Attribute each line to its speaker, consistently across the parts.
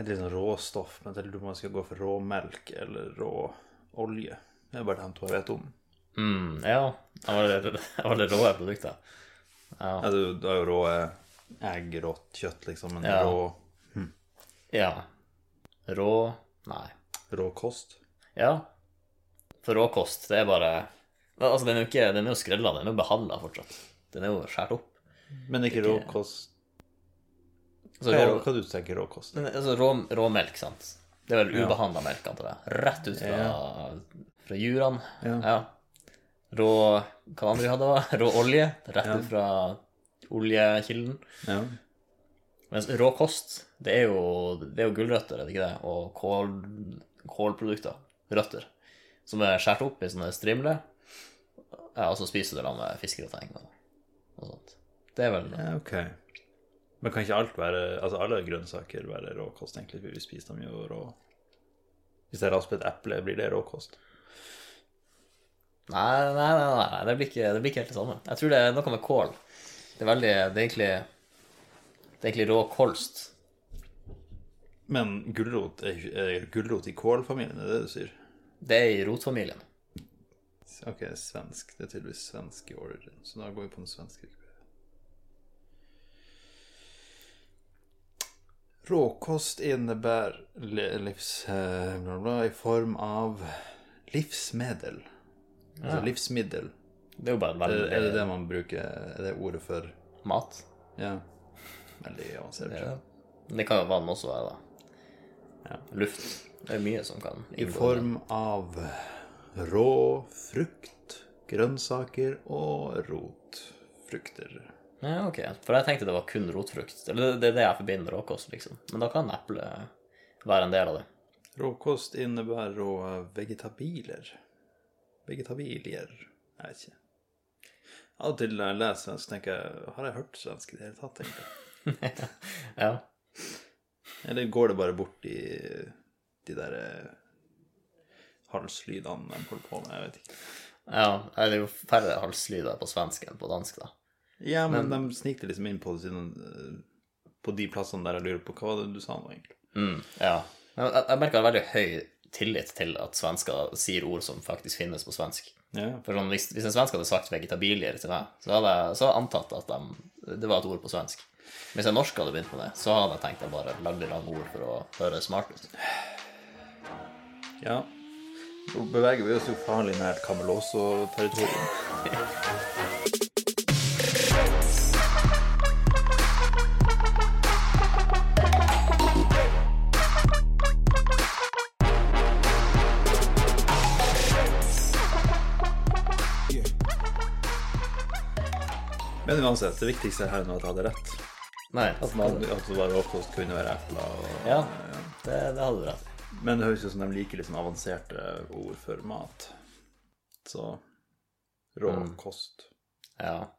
Speaker 1: Et litt sånn råstoff, men jeg lurer på om man skal gå for råmelk eller rå olje. Det er bare de to jeg vet om.
Speaker 2: Mm, ja. Det var det, det var det råe produktet. Ja.
Speaker 1: Ja, du, du har jo rå eh, egg, rått kjøtt, liksom, men
Speaker 2: Ja.
Speaker 1: rå,
Speaker 2: ja. Rå Nei.
Speaker 1: rå kost.
Speaker 2: Ja. For råkost, det er bare Altså, den er jo ikke Den er jo skrella, den er jo behandla fortsatt. Den er jo skåret opp.
Speaker 1: Men ikke
Speaker 2: Ikke-
Speaker 1: råkost
Speaker 2: Altså,
Speaker 1: Hva er rå-
Speaker 2: rå,
Speaker 1: hva du tenker råkost?
Speaker 2: men, altså, rå, råmelk, sant. Det er vel
Speaker 1: Ja.
Speaker 2: ubehandla melk, antar jeg. Rett ut fra, fra djurene.
Speaker 1: Ja.
Speaker 2: Ja. Rå Hva andre vi hadde, da? Rå olje. Rett
Speaker 1: Ja.
Speaker 2: ut fra oljekilden.
Speaker 1: Ja.
Speaker 2: Mens rå kost, det er jo, det er jo gulrøtter, er det ikke det? Og kål, kålprodukter. Røtter. Som er skåret opp i sånne strimler. Ja, og så spiser du det med fiskegrateng og, og sånt. Det er vel
Speaker 1: ja, ok. Men kan ikke alt være Altså alle grønnsaker være råkost, egentlig? For vi spiser dem jo rå. Hvis jeg rasper et eple, blir det råkost?
Speaker 2: Nei, nei, nei, nei, nei det, blir ikke, det blir ikke helt det samme. Jeg tror det er noe med kål. Det er veldig Det er egentlig, det er egentlig rå kolst.
Speaker 1: Men gulrot er, ikke- er gulrot i kålfamilien, er det det du sier?
Speaker 2: Det er i rotfamilien.
Speaker 1: Ok, svensk. Det er tydeligvis svensk i origin, så da går vi på den svenske. Wikipedia. Råkost innebærer li- livs... eh, Bla, bla, i form av livsmiddel. Altså livsmiddel.
Speaker 2: Det er jo bare
Speaker 1: Er,
Speaker 2: veldig
Speaker 1: er det det man bruker Er det ordet for
Speaker 2: mat.
Speaker 1: Ja. Veldig avansert.
Speaker 2: Ja. Men det kan jo vann også være, da.
Speaker 1: Ja.
Speaker 2: Luft. Det er mye som kan
Speaker 1: I
Speaker 2: inngå
Speaker 1: form av rå frukt, grønnsaker og rotfrukter.
Speaker 2: der. Ja, ok. For jeg tenkte det var kun rotfrukt. Eller det det er det jeg forbinder råkost, liksom. Men da kan eple være en del av det.
Speaker 1: Råkost innebærer rå vegetabiler. Vegetabilier. Jeg vet ikke. Av og til når jeg leser svensk, tenker jeg Har jeg hørt svensk i det hele tatt? egentlig?
Speaker 2: Ja.
Speaker 1: Eller går det bare bort i de der eh, halslydene de holder på med? Jeg vet ikke.
Speaker 2: ja. Det er jo færre halslyder på svensk enn på dansk, da.
Speaker 1: Ja, men, de snikte liksom inn på det siden eh, På de plassene der jeg lurer på Hva var det du sa nå, egentlig?
Speaker 2: Mm, ja. Men Jeg, jeg merker veldig høy tillit til at svensker sier ord som faktisk finnes på svensk.
Speaker 1: Ja,
Speaker 2: For sånn, hvis, hvis en svensk hadde sagt 'vegetabilier' til meg, så hadde jeg så hadde jeg antatt at de, det var et ord på svensk. Hvis en norsk hadde begynt med det, så hadde jeg tenkt jeg bare lagde lange ord for å høre smart ut.
Speaker 1: Ja. Nå beveger vi oss jo farlig nært Kamelås-territoriet. Men uansett, det viktigste her nå er at jeg hadde rett.
Speaker 2: Nei,
Speaker 1: At, man, at det var råkost kunne være epler og
Speaker 2: ja, det, det hadde du rett i.
Speaker 1: men det høres ut som de liker litt sånn avanserte ord for mat. Så rå kost.
Speaker 2: Ja.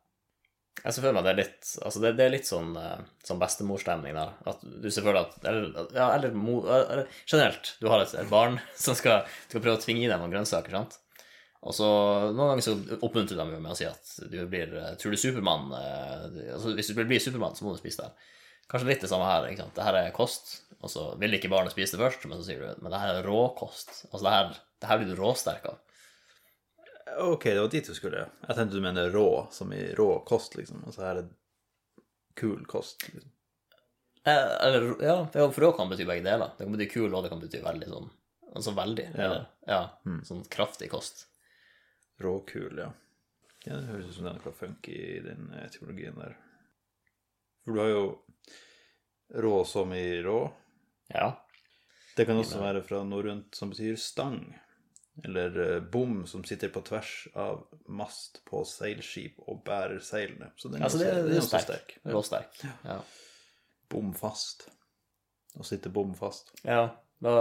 Speaker 2: Jeg ser for meg det er litt altså det, det er litt sånn, eh, sånn bestemorstemning der. At du ser for deg at Eller, ja, eller, mo, eller generelt, du har et, et barn som skal, skal prøve å tvinge i deg noen grønnsaker, sant? Og så Noen ganger så oppmuntrer de jo med å si at du blir eh, Tror du Supermann eh, du- altså Hvis du vil bli Supermann, så må du spise det her. Kanskje litt det samme her. ikke sant? Det her er kost, og så vil ikke barnet spise det først, men så sier du men det her er råkost. Altså det her, det her blir du råsterk av.
Speaker 1: Ok, det var dit du skulle. Jeg tenkte du mener rå, som i rå kost, liksom. Altså her er kul kost. Liksom.
Speaker 2: Eh, Eller, ja, for jo- for rå kan bety begge deler. Det kan bety kul, og det kan bety veldig sånn Altså veldig.
Speaker 1: Ja.
Speaker 2: Eller, ja
Speaker 1: Mm.
Speaker 2: Sånn kraftig kost.
Speaker 1: Råkul, ja. ja. Det høres ut som det er noe funky i den etiologien der. For du har jo rå som i rå.
Speaker 2: Ja.
Speaker 1: Det kan også være fra norrønt som betyr stang. Eller eh, bom som sitter på tvers av mast på seilskip og bærer seilene. Så den er
Speaker 2: Altså, det,
Speaker 1: også,
Speaker 2: det,
Speaker 1: den
Speaker 2: er
Speaker 1: er også
Speaker 2: sterk.
Speaker 1: sterk.
Speaker 2: Råsterk. Ja.
Speaker 1: Bom fast. Å sitte bom fast.
Speaker 2: ja. Da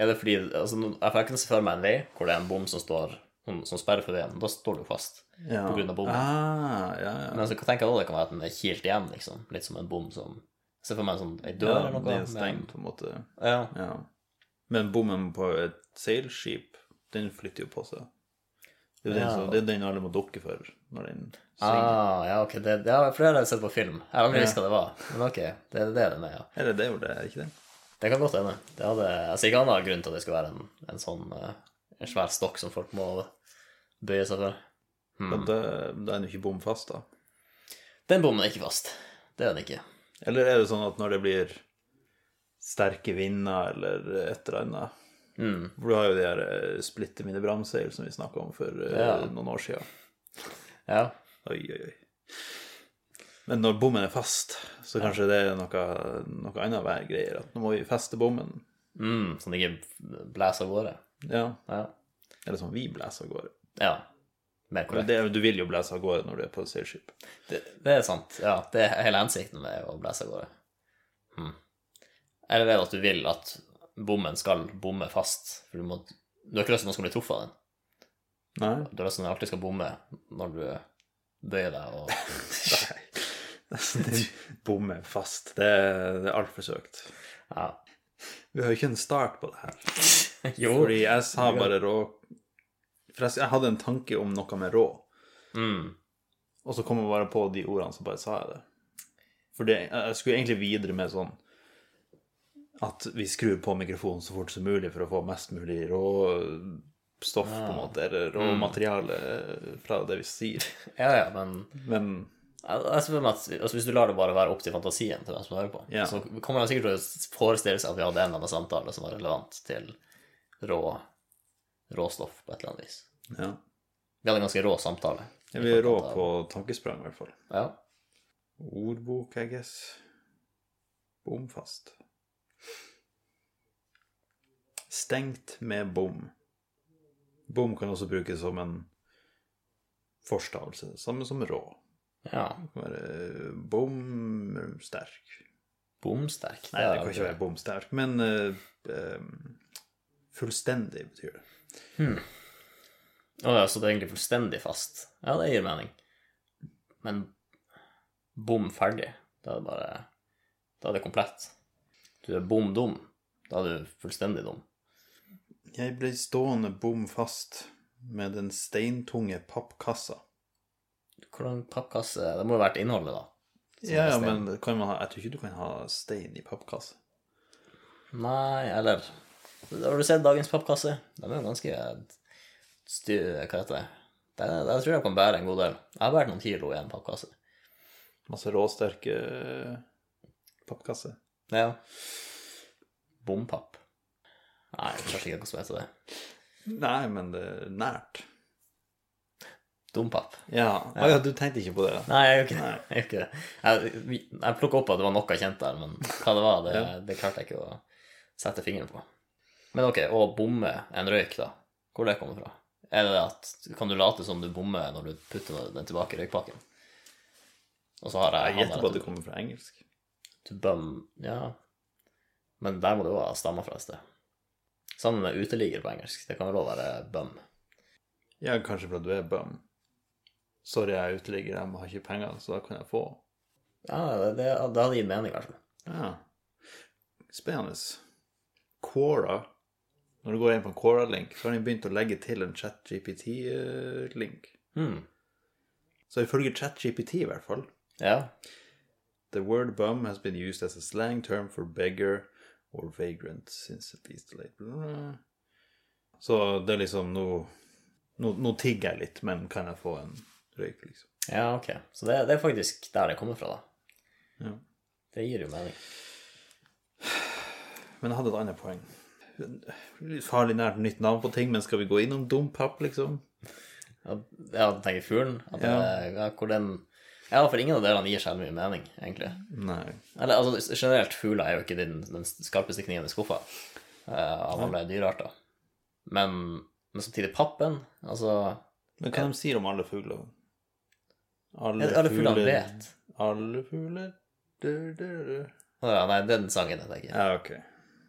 Speaker 2: er det fordi altså, nå- Jeg får ikke se for meg en vei hvor det er en bom som står som, som sperrer for veien. Da står du fast.
Speaker 1: Ja.
Speaker 2: På grunn av bommen.
Speaker 1: Ah, ja, ja.
Speaker 2: Men så tenker jeg også det kan være at den er kilt igjen, liksom. Litt som en bom som Se for meg en sånn ei dør
Speaker 1: ja,
Speaker 2: eller noe.
Speaker 1: det er
Speaker 2: med-
Speaker 1: stengt, på en måte.
Speaker 2: Ja.
Speaker 1: Ja. Men bommen på et seilskip, den flytter jo på seg. Det er jo den,
Speaker 2: Ja.
Speaker 1: som, det er den alle må dukke for når den svinger.
Speaker 2: Ah, ja, ok. Det, det har flere sett på film. Jeg har aldri visst hva det var. Men ok, det, det er det den er, ja.
Speaker 1: Eller det er jo det, er det ikke det?
Speaker 2: Det kan godt hende. Det hadde, jeg sier ikke annen grunn til at det skulle være en, en sånn eh, en svær stokk som folk må bøye seg for.
Speaker 1: Men
Speaker 2: Hmm.
Speaker 1: det, det er jo ikke bom fast, da.
Speaker 2: Den bommen er ikke fast. Det er den ikke.
Speaker 1: Eller er det sånn at når det blir sterke vinder eller et eller annet
Speaker 2: Hmm.
Speaker 1: For du har jo de her eh, splitter mine bramseil som vi snakka om for eh,
Speaker 2: Ja.
Speaker 1: noen år siden.
Speaker 2: Ja.
Speaker 1: Oi, oi, oi. Men når bommen er fast, så kanskje det er noe, noe annet vær greier. At nå må vi feste bommen.
Speaker 2: Mm, sånn at det ikke blæser av gårde.
Speaker 1: Ja.
Speaker 2: Ja.
Speaker 1: Eller sånn vi blæser av gårde.
Speaker 2: ja. Mer
Speaker 1: Men
Speaker 2: korrekt.
Speaker 1: det, du vil jo blæse av gårde når du er på seilskip.
Speaker 2: Det, det er sant. Ja, det er hele hensikten med å blæse av gårde. Hmm. Eller er det at du vil at bommen skal bomme fast? For du, må, du har ikke lyst til at noen skal bli truffet av den.
Speaker 1: Nei.
Speaker 2: Du har lyst til at den alltid skal bomme når du bøyer deg og
Speaker 1: Nei. Det- Bomme fast. Det, er- det er altfor søkt.
Speaker 2: Ja.
Speaker 1: Vi har jo ikke en start på det her.
Speaker 2: Jo.
Speaker 1: Fordi jeg sa bare rå Forresten, jeg hadde en tanke om noe med rå,
Speaker 2: Mm.
Speaker 1: og så kom jeg bare på de ordene, så bare sa jeg det. For det, jeg skulle egentlig videre med sånn at vi skrur på mikrofonen så fort som mulig for å få mest mulig rå stoff, på en måte, eller råmateriale fra det vi sier.
Speaker 2: Ja, ja, men
Speaker 1: Men
Speaker 2: jeg jeg ser for meg at altså, Hvis du lar det bare være opp til fantasien til hvem som hører på,
Speaker 1: Ja.
Speaker 2: så kommer de sikkert til å forestille seg at vi hadde en eller annen samtale som var relevant til rå råstoff på et eller annet vis.
Speaker 1: ja.
Speaker 2: Vi hadde en ganske rå samtale.
Speaker 1: Jeg blir rå på tankesprang, i hvert fall.
Speaker 2: Ja.
Speaker 1: Ordbok, I guess. Bomfast. Stengt med bom. Bom kan også brukes som en forstavelse, samme som rå.
Speaker 2: ja.
Speaker 1: Det kan være eh, bomsterk.
Speaker 2: Bomsterk.
Speaker 1: Nei, det
Speaker 2: er
Speaker 1: kan ikke være bomsterk, men eh, eh, fullstendig betyr det.
Speaker 2: Å ja, så det er egentlig fullstendig fast. Ja, det gir mening. Men bom ferdig, da er det bare Da er det komplett. Du er bom dum. Da er du fullstendig dum.
Speaker 1: Jeg ble stående bom fast med den steintunge pappkassa.
Speaker 2: Hvordan pappkasse Det må jo vært innholdet, da. Som
Speaker 1: Ja,
Speaker 2: er
Speaker 1: ja,
Speaker 2: stein.
Speaker 1: men kan man ha, jeg tror ikke du kan ha stein i pappkasse.
Speaker 2: Nei, eller Har du sett dagens pappkasse? De er jo ganske sty... Hva heter det? Det, det tror jeg kan bære en god del. Jeg har båret noen kilo i en pappkasse.
Speaker 1: Masse råsterke pappkasser.
Speaker 2: Ja. Bompapp. Nei, jeg tror ikke hva som heter det.
Speaker 1: Nei, men det er nært.
Speaker 2: Dompapp.
Speaker 1: Ja. Å ja, du tenkte ikke på det?
Speaker 2: Nei, jeg gjør ikke det. Jeg, gjør ikke det. jeg, vi- jeg plukka opp at det var noe kjent der, men hva det var, det, det klarte jeg ikke å sette fingeren på. Men ok, å bomme en røyk, da. Hvor det kommer fra? Er det det at Kan du late som du bommer når du putter den tilbake i røykpakken? Og så har jeg
Speaker 1: Jeg gjetter på
Speaker 2: han
Speaker 1: at
Speaker 2: der
Speaker 1: det kommer fra engelsk.
Speaker 2: at du bøm... Ja. Men der må det jo ha stamma fra et sted. Sammen med uteligger på engelsk. Det kan vel òg være bøm.
Speaker 1: Ja, kanskje fordi du er bum. Sorry, jeg er uteligger, jeg har ikke penger, så da kan jeg få.
Speaker 2: Ja, det, det, det hadde gitt mening, kanskje.
Speaker 1: Ja. Spennende. Quora. Når du går inn på en Quora-link, så har de begynt å legge til en ChatGPT-link.
Speaker 2: Hmm.
Speaker 1: eh, Så ifølge ChatGPT, i hvert fall,
Speaker 2: Ja.
Speaker 1: The word bum has been used as a slang term for beggar or vagrant since at least late. blah, blah, blah. Så det er liksom nå Nå, nå tigger jeg litt, men kan jeg få en røyk, liksom?
Speaker 2: Ja, ok. Så det, det er faktisk der det kommer fra, da.
Speaker 1: Ja.
Speaker 2: Det gir jo mening.
Speaker 1: Men jeg hadde et annet poeng. Litt Farlig nært nytt navn på ting, men skal vi gå innom dompapp, liksom?
Speaker 2: Ja, ja, du tenker fuglen? At det, ja, hvor den Ja, for ingen av delene gir særlig mye mening, egentlig.
Speaker 1: Nei.
Speaker 2: Eller altså, generelt, fugler er jo ikke den, den skarpeste kniven i skuffa eh, av alle dyrearter. Men, men samtidig pappen Altså,
Speaker 1: Men hva de sier om alle fugler?
Speaker 2: er alle fuglene vet.
Speaker 1: Alle fugler du, du, du.
Speaker 2: Å ja, nei, det er den sangen jeg tenker.
Speaker 1: Ja, OK.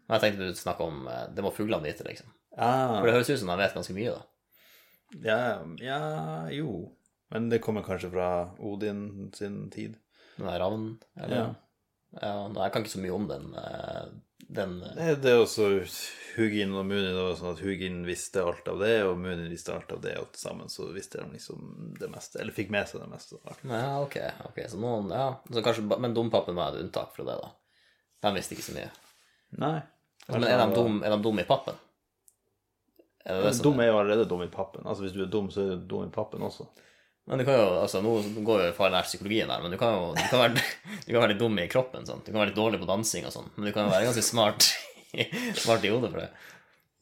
Speaker 2: Men jeg tenkte du snakka om eh, Det må fuglene vite, liksom.
Speaker 1: Ah.
Speaker 2: For det høres ut som de vet ganske mye, da.
Speaker 1: Ja, ja, jo. Men det kommer kanskje fra Odin sin tid.
Speaker 2: Den der ravnen, eller
Speaker 1: Ja.
Speaker 2: ja nei, Jeg kan ikke så mye om den, eh, den eh,
Speaker 1: Nei, Det er også Hugin og Munin. Det var sånn at Hugin visste alt av det, og Munin visste alt av det, og til sammen så visste de liksom det meste. Eller fikk med seg det meste. av alt.
Speaker 2: Ja, ok. ok, så noen, ja. Så kanskje, ba- Men dompapen var et unntak fra det, da. Den visste ikke så mye.
Speaker 1: Nei.
Speaker 2: Men er de dum, er de dum i pappen? Er det det som
Speaker 1: Dum Altså, er jo allerede dum i pappen. Altså Hvis du er dum, så er du dum i pappen også.
Speaker 2: Men du kan jo, altså Nå går jo far nær psykologien her, men du kan jo du kan være, du kan være litt dum i kroppen. Sånn. Du kan være litt dårlig på dansing og sånn, men du kan jo være ganske smart, smart i hodet for det.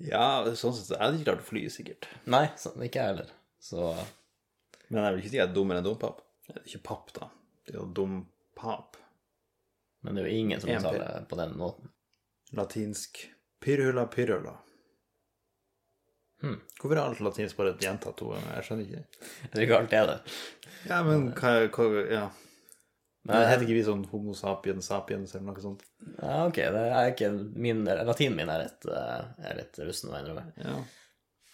Speaker 1: Ja, sånn sett så jeg hadde ikke klart å fly, sikkert.
Speaker 2: Nei, sånn, ikke jeg heller. Så
Speaker 1: Men jeg vil ikke si jeg er dummere enn dompap. Det er ikke papp, da. Det er jo dompap.
Speaker 2: Men det er jo ingen som
Speaker 1: En
Speaker 2: uttaler det på den måten.
Speaker 1: Latinsk pyrula pyrula.
Speaker 2: Hmm.
Speaker 1: Hvorfor er alt latinsk bare gjentatt to ganger? Jeg skjønner ikke.
Speaker 2: Jeg tror ikke alt er det.
Speaker 1: Ja, men hva, hva Ja.
Speaker 2: Men-
Speaker 1: Men heter ikke vi sånn Homo sapien sapiens eller noe sånt?
Speaker 2: Ja, ok, det er ikke min, Latinen min er litt, eh, er litt russen, må jeg innrømme.
Speaker 1: Ja.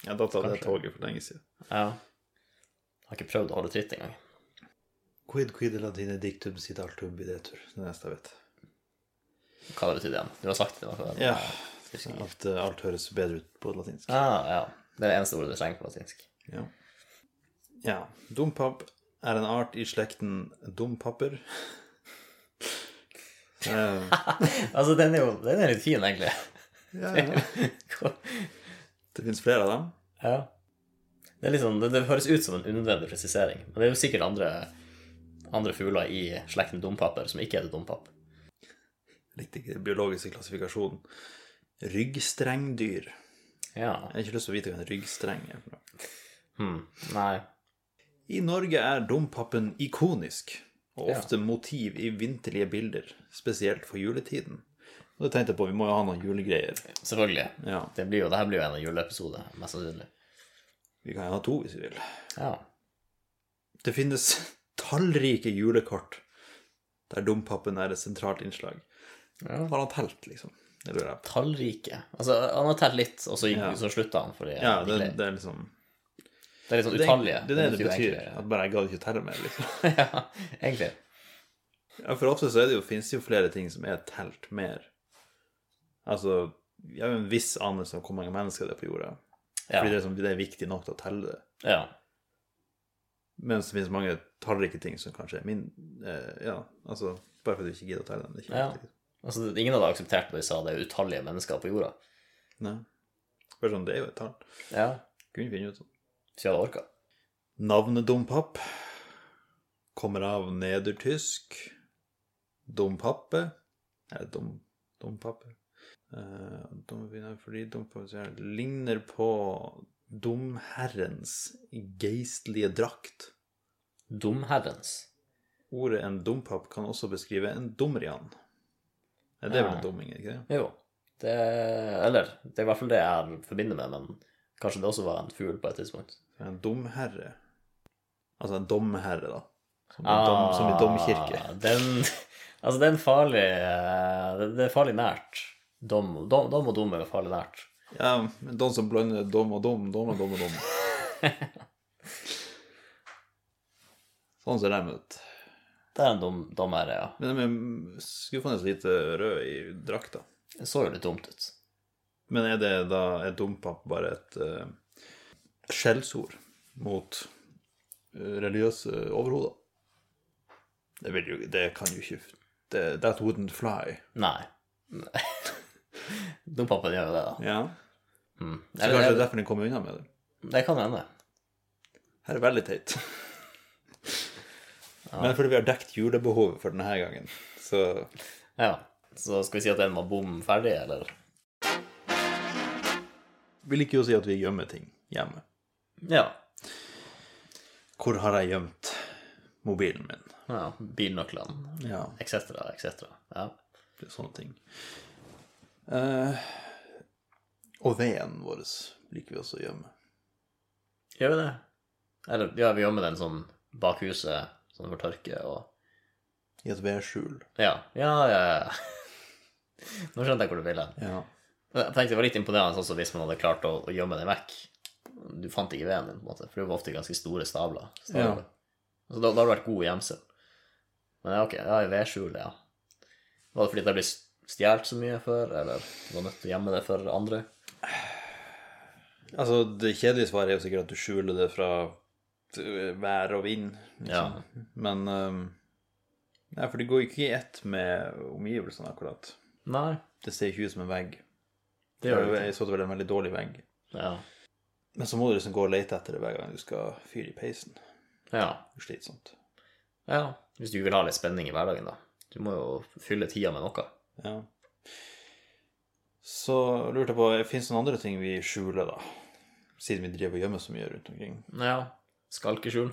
Speaker 1: Jeg datt av det
Speaker 2: Kanskje.
Speaker 1: toget for lenge siden.
Speaker 2: Ja. Jeg har ikke prøvd å holde tritt engang.
Speaker 1: Quid quid latine dictum sit altum bidetur. Det er det neste jeg vet.
Speaker 2: Hva det betyr igjen? Du har sagt det. i hvert fall.
Speaker 1: Ja.
Speaker 2: Jeg husker ikke.
Speaker 1: At eh, alt høres bedre ut på latinsk.
Speaker 2: Ah, ja. Det er det eneste ordet du trenger på latinsk.
Speaker 1: Ja. ja. Dompap er en art i slekten dompapper. Eh,
Speaker 2: Altså, den er jo den er litt fin, egentlig.
Speaker 1: ja, ja. Det fins flere av dem.
Speaker 2: ja. Det, er litt sånn, det, det høres ut som en unødvendig presisering, men det er jo sikkert andre, andre fugler i slekten dompaper som ikke heter dompap.
Speaker 1: Likte ikke den biologiske klassifikasjonen. Ryggstrengdyr. Jeg
Speaker 2: Ja.
Speaker 1: har ikke lyst til å vite hva en ryggstreng er. for noe.
Speaker 2: Hm. Nei.
Speaker 1: I Norge er dompapen ikonisk, og
Speaker 2: Ja.
Speaker 1: ofte motiv i vinterlige bilder, spesielt for juletiden. Og det tenkte jeg på, vi må jo ha noen julegreier.
Speaker 2: Selvfølgelig.
Speaker 1: Ja,
Speaker 2: Det blir jo, det her blir jo en juleepisode, mest sannsynlig.
Speaker 1: Vi kan jo ha to hvis vi vil.
Speaker 2: Ja.
Speaker 1: Det finnes tallrike julekort der dompapen er et sentralt innslag.
Speaker 2: ja.
Speaker 1: Har han telt, liksom? Det lurer jeg på.
Speaker 2: Tallrike. Altså, han har telt litt, og så, gikk,
Speaker 1: Ja.
Speaker 2: så slutta han fordi
Speaker 1: Ja, det, det er liksom
Speaker 2: det er litt sånn
Speaker 1: Det er
Speaker 2: utallige.
Speaker 1: det, er det, det betyr.
Speaker 2: egentlig-
Speaker 1: At bare jeg gadd ikke å telle mer, liksom.
Speaker 2: ja, egentlig.
Speaker 1: Ja, for ofte så er det jo, finnes det jo flere ting som er telt mer. Altså Vi har jo en viss anelse om hvor mange mennesker det er på jorda.
Speaker 2: Ja.
Speaker 1: Fordi det er, sånn, det er viktig nok til å telle det.
Speaker 2: ja.
Speaker 1: Mens det finnes mange tallrike ting som kanskje er min eh, Ja, altså Bare fordi du ikke gidder å telle dem. Det er ikke
Speaker 2: Ja.
Speaker 1: viktig.
Speaker 2: Altså, ingen hadde akseptert når de sa det er utallige mennesker på jorda.
Speaker 1: Nei. Bare sånn, det er jo et tall.
Speaker 2: Ja.
Speaker 1: Kunne finne ut sånn.
Speaker 2: Hvis vi hadde orka.
Speaker 1: Navnet Dompap kommer av nedertysk Dompappe Eller dom, Dompappe Eh, dom, Fordi Dompappe så er- ligner på domherrens geistlige drakt.
Speaker 2: Dumherrens.
Speaker 1: Ordet en dompap kan også beskrive en dumrian. Ja, det er vel
Speaker 2: Ja.
Speaker 1: en dumming, er det ikke det?
Speaker 2: Jo. Det Eller, det er i hvert fall det jeg forbinder med, men kanskje det også var en fugl på et tidspunkt.
Speaker 1: En domherre. Altså en domherre, da. Som, i dom, som i domkirke.
Speaker 2: Ah, Den Altså, det er en farlig eh, Det det er farlig nært. Dom, dom, dom og dom er jo farlig nært.
Speaker 1: Ja, men de som blander dom og dom, dom og dom og dom. Sånn ser de ut.
Speaker 2: Det er en dom, domherre, ja.
Speaker 1: Men de er skuffende lite røde i drakta.
Speaker 2: Det så jo litt dumt ut.
Speaker 1: Men er det da er dompap bare et eh, skjellsord mot eh, religiøse overhoder? Det, vil jo, det kan jo ikke det, That wouldn't fly.
Speaker 2: Nei. Dompapen gjør jo det, da.
Speaker 1: Ja.
Speaker 2: Mm.
Speaker 1: Så
Speaker 2: Eller,
Speaker 1: kanskje det er
Speaker 2: det,
Speaker 1: derfor den kommer unna med det.
Speaker 2: det kan hende.
Speaker 1: Her er veldig teit. Men fordi vi har dekt julebehovet for denne gangen, så
Speaker 2: Ja. Så skal vi si at den var bom ferdig, eller?
Speaker 1: Vi liker jo å si at vi gjemmer ting hjemme.
Speaker 2: Ja.
Speaker 1: Hvor har jeg gjemt mobilen min?
Speaker 2: ja. Bilnøklene,
Speaker 1: Ja,
Speaker 2: etc., etc. Ja.
Speaker 1: det er sånne ting. Eh, og veden vår liker vi også å gjemme.
Speaker 2: Gjør vi det? Eller ja, vi gjemmer den sånn bak huset, sånn for tørke og
Speaker 1: I et vedskjul.
Speaker 2: Ja, ja, ja. ja. Nå skjønte jeg hvor du ville.
Speaker 1: Ja.
Speaker 2: Jeg tenkte det var litt imponerende sånn som hvis man hadde klart å, å gjemme den vekk. Du fant ikke veden din, på en måte, for det var ofte ganske store stabler.
Speaker 1: Ja.
Speaker 2: stabler. Så da, da har du vært god i gjemsel. Men ja, ok, ja, i vedskjulet, ja. Var det fordi det ble stjålet så mye før, eller var nødt til å gjemme det for andre?
Speaker 1: Altså, det kjedelige svaret er jo sikkert at du skjuler det fra eh, vær og vind. liksom.
Speaker 2: Ja.
Speaker 1: Men eh, Nei, for det går jo ikke i ett med omgivelsene, akkurat.
Speaker 2: Nei.
Speaker 1: Det ser ikke ut som en vegg.
Speaker 2: Det gjør det ikke.
Speaker 1: Jeg så det var en veldig dårlig vegg.
Speaker 2: Ja.
Speaker 1: Men så må du liksom gå og lete etter det hver gang du skal fyre i peisen.
Speaker 2: ja.
Speaker 1: Det er Slitsomt.
Speaker 2: Ja. Hvis du vil ha litt spenning i hverdagen, da. Du må jo fylle tida med noe.
Speaker 1: Ja. Så lurte jeg på, fins det noen andre ting vi skjuler, da? Siden vi driver og gjemmer så mye rundt omkring.
Speaker 2: Ja. Skalkeskjul.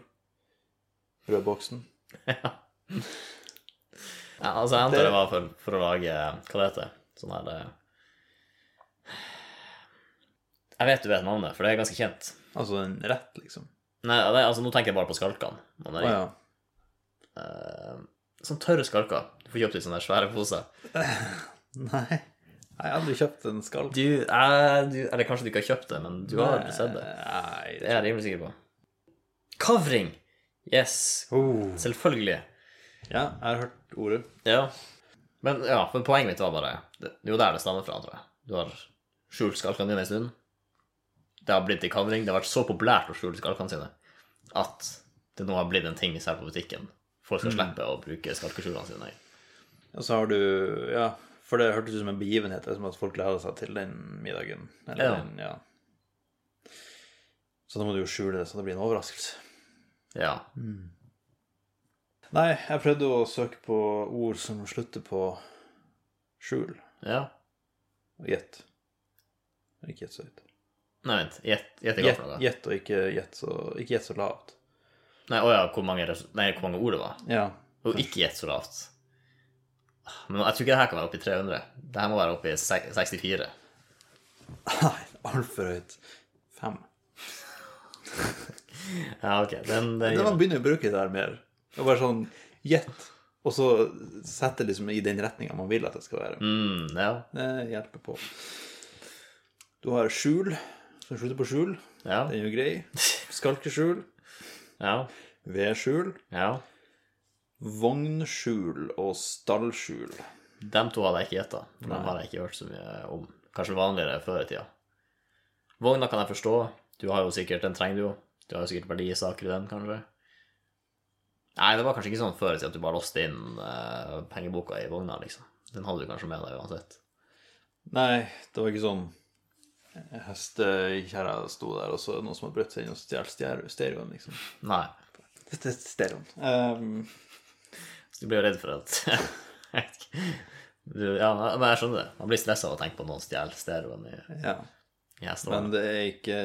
Speaker 1: Rødboksen.
Speaker 2: Ja, altså, jeg antar
Speaker 1: Det-
Speaker 2: det var for, for å lage Hva det heter Sånn her eh, Jeg vet du vet navnet, for det er ganske kjent.
Speaker 1: Altså en rett, liksom.
Speaker 2: Nei, det, altså, nå tenker jeg bare på skalkene. Man
Speaker 1: Å
Speaker 2: er,
Speaker 1: ja.
Speaker 2: Sånn tørre skalker. Du får kjøpt i sånne der svære poser.
Speaker 1: Nei. Jeg har aldri kjøpt en skalp.
Speaker 2: Du, eh, du Eller kanskje du ikke har kjøpt det, men du har
Speaker 1: Nei,
Speaker 2: sett det.
Speaker 1: Nei.
Speaker 2: Det er jeg rimelig sikker på. Kavring! Yes.
Speaker 1: Oh.
Speaker 2: Selvfølgelig.
Speaker 1: Ja, jeg har hørt ordet.
Speaker 2: Ja. Men ja, for poenget mitt var bare Det det er jo der det stammer fra, tror jeg. Du har skjult skalkene dine en stund. Det har blitt til kavring. Det har vært så populært å skjule skalkene sine at det nå har blitt en ting selv på butikken. Folk skal slippe å bruke skalkeskjulene sine.
Speaker 1: Og så har du Ja, for det hørtes ut som en begivenhet. Det er som at folk gleder seg til den middagen. Eller
Speaker 2: Ja.
Speaker 1: ja. Den, ja. Så da må du jo skjule det, så det blir en overraskelse.
Speaker 2: Ja.
Speaker 1: Nei, jeg prøvde å søke på ord som slutter på skjul.
Speaker 2: ja.
Speaker 1: Og gjett. Ikke gjett så høyt.
Speaker 2: Nei, vent. Gjett gjett jeg ga
Speaker 1: Gjett
Speaker 2: for noe.
Speaker 1: gjett og ikke gjett så, ikke gjett så lavt.
Speaker 2: Nei, å ja, hvor mange, res- nei, hvor mange ord det var.
Speaker 1: Ja.
Speaker 2: Og ikke gjett så lavt. Men jeg tror ikke det her kan være oppe i 300. Det her må være oppe i sek- 64.
Speaker 1: Nei, altfor høyt. Fem.
Speaker 2: Ja, ok. Den, den,
Speaker 1: Men man begynner å bruke det der mer. Og bare sånn gjett, og så sette liksom i den retninga man vil at det skal være.
Speaker 2: mm, ja.
Speaker 1: Det hjelper på. Du har skjul, som slutter på skjul.
Speaker 2: Ja.
Speaker 1: Den er jo grei. Skalkeskjul.
Speaker 2: Ja.
Speaker 1: Vedskjul.
Speaker 2: ja.
Speaker 1: Vognskjul og stallskjul.
Speaker 2: Dem to hadde jeg ikke gjetta. for Dem har jeg ikke hørt så mye om. Kanskje vanligere før i tida. Vogna kan jeg forstå. Du har jo sikkert, Den trenger du jo. Du har jo sikkert verdisaker i den, kanskje. Nei, det var kanskje ikke sånn før i tida at du bare låste inn eh, pengeboka i vogna, liksom. Den hadde du kanskje med deg uansett.
Speaker 1: Nei, det var ikke sånn hestekjerra sto der, og så er det noen som har brutt seg inn og stjålet stjer- stereoen, liksom.
Speaker 2: Nei.
Speaker 1: Dette er stereoen. Ehm,
Speaker 2: Så du blir jo redd for at Jeg vet ikke. du, Ja, men jeg skjønner det. Man blir stressa av å tenke på at noen stjeler stereoen i,
Speaker 1: ja.
Speaker 2: i hestevogna.
Speaker 1: Men det er ikke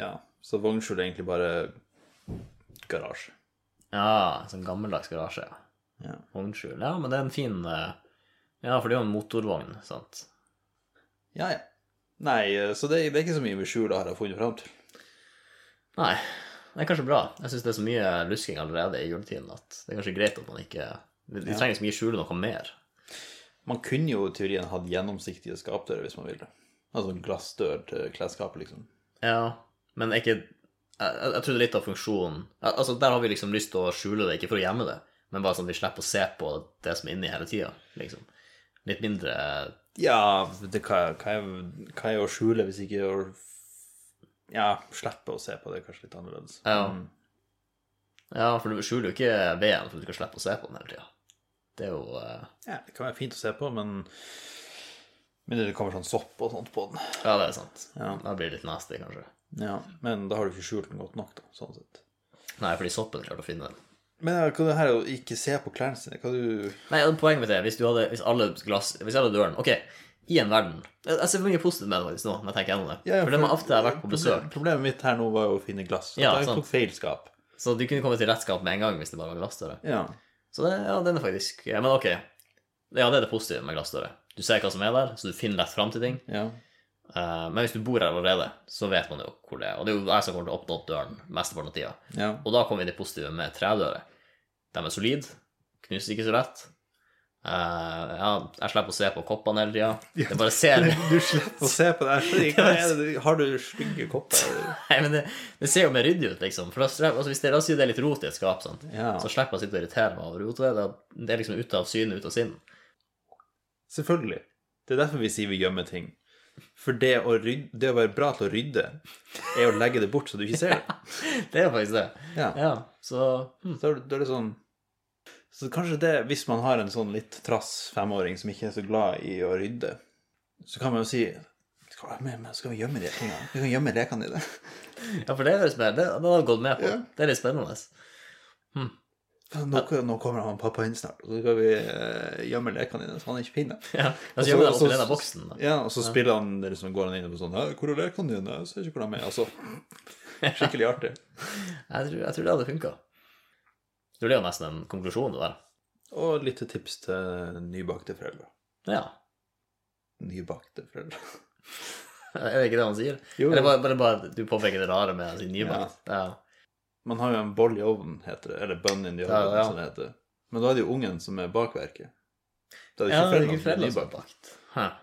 Speaker 1: Ja. Så vognskjul er egentlig bare garasje.
Speaker 2: Ja, sånn gammeldags garasje, ja.
Speaker 1: Ja.
Speaker 2: Vognskjul. Ja, men det er en fin eh, Ja, for det er jo en motorvogn, sant?
Speaker 1: Ja, ja. Nei, eh, så det, det er ikke så mye med skjul, har jeg funnet fram til.
Speaker 2: Nei, det er kanskje bra. Jeg syns det er så mye lusking allerede i juletiden at det er kanskje greit at man ikke Du du trenger ikke så mye skjule noe mer.
Speaker 1: Man kunne jo i teorien hatt gjennomsiktige skapdører hvis man ville. Altså en glassdør til klesskapet, liksom.
Speaker 2: Ja, men er ikke jeg, jeg, jeg tror det er litt av funksjonen Al- Altså, der har vi liksom lyst til å skjule det, ikke for å gjemme det, men bare sånn at vi slipper å se på det som er inni hele tida, liksom. Litt mindre
Speaker 1: Ja, det, hva, hva, er, hva er å skjule hvis ikke å Ja, slippe å se på det, er kanskje litt annerledes.
Speaker 2: Ja.
Speaker 1: Mm.
Speaker 2: Ja, for du skjuler jo ikke veden for at du skal slippe å se på den hele tida. Det er jo eh,
Speaker 1: ja, det kan være fint å se på, men Mindre det kommer sånn sopp og sånt på den.
Speaker 2: Ja, det er sant.
Speaker 1: Ja.
Speaker 2: Da blir det litt nasty, kanskje.
Speaker 1: Ja, Men da har du ikke skjult den godt nok, da, sånn sett.
Speaker 2: Nei, fordi soppen klarte å finne den.
Speaker 1: Men ja, hva det her å ikke se på klærne sine, hva du
Speaker 2: Nei, og Poenget mitt er hvis, du hadde, hvis, alle glass, hvis alle dørene Ok, i en verden Jeg jeg ser mye positivt med det faktisk nå, når jeg tenker gjennom det.
Speaker 1: Ja, ja,
Speaker 2: for det med ofte jeg har vært på besøk,
Speaker 1: Problemet, problemet mitt her nå var jo å finne glass.
Speaker 2: Ja,
Speaker 1: jeg
Speaker 2: sant.
Speaker 1: tok feil skap.
Speaker 2: så du kunne komme til rettskap med en gang hvis det bare var glassdører.
Speaker 1: Ja.
Speaker 2: Så det, ja, den er faktisk ja, Men ok, ja, det er det positive med glassdører. Du ser hva som er der, så du finner lett fram til ting.
Speaker 1: ja.
Speaker 2: Eh, men hvis du bor her allerede, så vet man jo hvor det er. Og det er jo jeg som kommer til å åpne opp døren mesteparten av tida.
Speaker 1: ja.
Speaker 2: Og da kommer vi til det positive med tredører. De er solide, knuser ikke så lett. Eh, ja, jeg slipper å se på koppene hele tida. Jeg bare ser
Speaker 1: Du slipper å se på det. her, fordi Hva er det? du- Har du stygge kopper?
Speaker 2: Nei, men det, det ser jo mer ryddig ut, liksom. For da, slipper- altså, hvis det, la oss si det er litt rot i et skap, sant?
Speaker 1: Ja.
Speaker 2: så slipper jeg å sitte og irritere meg over rotet. Det, det er liksom ute av syne, ute av sinn.
Speaker 1: Selvfølgelig. Det er derfor vi sier vi gjemmer ting. For det å, rydde, det å være bra til å rydde, er å legge det bort så du ikke ser det.
Speaker 2: Det er jo faktisk det.
Speaker 1: Ja.
Speaker 2: Ja, så hm.
Speaker 1: Da er det- da er det sånn Så kanskje det, hvis man har en sånn litt trass femåring som ikke er så glad i å rydde, så kan man jo si skal vi, ha med- men skal vi gjemme de tingene? Vi kan gjemme lekene dine.
Speaker 2: Ja, for det høres mer Det, det har jeg gått med på.
Speaker 1: Ja.
Speaker 2: Det er litt spennende.
Speaker 1: Nå, nå kommer han pappa inn snart, og så skal vi eh, gjemme lekene dine så han ikke finner dem.
Speaker 2: Ja, altså,
Speaker 1: så-
Speaker 2: gjør vi det
Speaker 1: så-
Speaker 2: oppi denne boksen. da.
Speaker 1: Ja, og så spiller han det liksom, går han inn på sånn «Hæ, 'Hvor er lekene dine? Jeg ser ikke hvor de er.' Altså, skikkelig artig.
Speaker 2: Jeg tror, jeg tror det hadde funka. Det blir jo nesten en konklusjon, det der.
Speaker 1: Og et lite tips til nybakte foreldre.
Speaker 2: Ja.
Speaker 1: Nybakte foreldre.
Speaker 2: Er det ikke det han sier?
Speaker 1: Jo,
Speaker 2: Eller bare, bare, bare du påpeker det rare med å si nybakt. Ja.
Speaker 1: man har jo en boll i ovnen, heter det. Eller bun in the oven,
Speaker 2: Ja, ja.
Speaker 1: som det heter. Men da er det jo ungen som er bakverket. Da er det
Speaker 2: Ja,
Speaker 1: ikke
Speaker 2: det
Speaker 1: foreldrene
Speaker 2: er ikke
Speaker 1: som er
Speaker 2: foreldre som
Speaker 1: nybakt.
Speaker 2: har bakt. Hæ.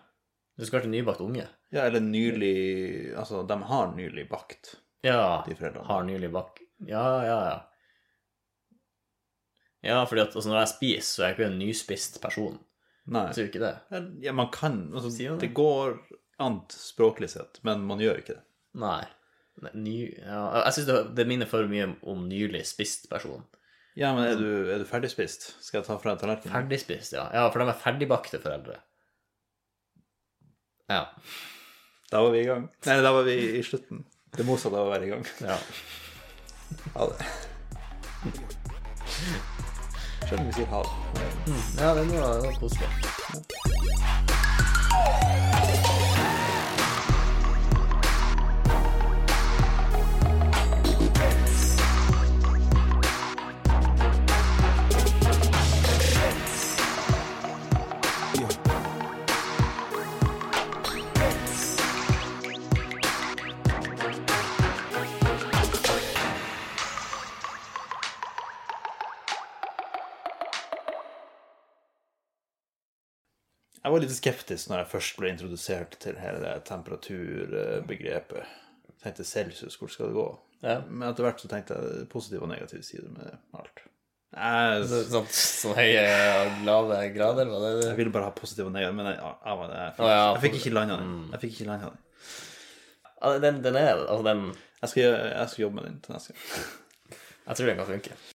Speaker 2: Du skal til nybakt unge.
Speaker 1: Ja, eller nylig Altså, de har nylig bakt,
Speaker 2: Ja.
Speaker 1: de foreldrene.
Speaker 2: Har nylig bakt. Ja, ja, ja. Ja, fordi at altså, når jeg spiser, så er jeg ikke en nyspist person. Jeg
Speaker 1: Nei.
Speaker 2: tror ikke det.
Speaker 1: Ja, man kan
Speaker 2: Sier
Speaker 1: altså,
Speaker 2: man det?
Speaker 1: Det går an språklig sett, men man gjør ikke det.
Speaker 2: Nei. Nei, Ny, ja. Jeg syns det, det minner for mye om nylig spist person.
Speaker 1: Ja, men er
Speaker 2: Mm.
Speaker 1: du, er du ferdigspist? Skal jeg ta fra deg tallerkenen?
Speaker 2: Ferdigspist, ja. Ja, for de er ferdigbakte foreldre. Ja.
Speaker 1: Da var vi i gang. Nei, da var vi i slutten. Det motsatte av å være i gang.
Speaker 2: ja.
Speaker 1: Ha det. Selv om vi sier ha det.
Speaker 2: Ja, den var, den var koselig.
Speaker 1: Jeg var litt skeptisk når jeg først ble introdusert til hele det temperaturbegrepet. Jeg tenkte celsius, hvor skal det gå?
Speaker 2: Ja.
Speaker 1: Men etter hvert så tenkte jeg positive og negative sider med alt. Jeg,
Speaker 2: Så, sånn, sånn høye og lave grader, var det det?
Speaker 1: jeg ville bare ha positive og negative, men jeg, jeg, var- jeg,
Speaker 2: Å,
Speaker 1: fikk,
Speaker 2: ja,
Speaker 1: jeg fikk
Speaker 2: for-
Speaker 1: ikke landa den. Jeg fikk ikke landet den.
Speaker 2: Ja, Den, den er Altså, den
Speaker 1: Jeg skal, gjøre- jeg skal jobbe med den til neste gang.
Speaker 2: Jeg tror den kan funke.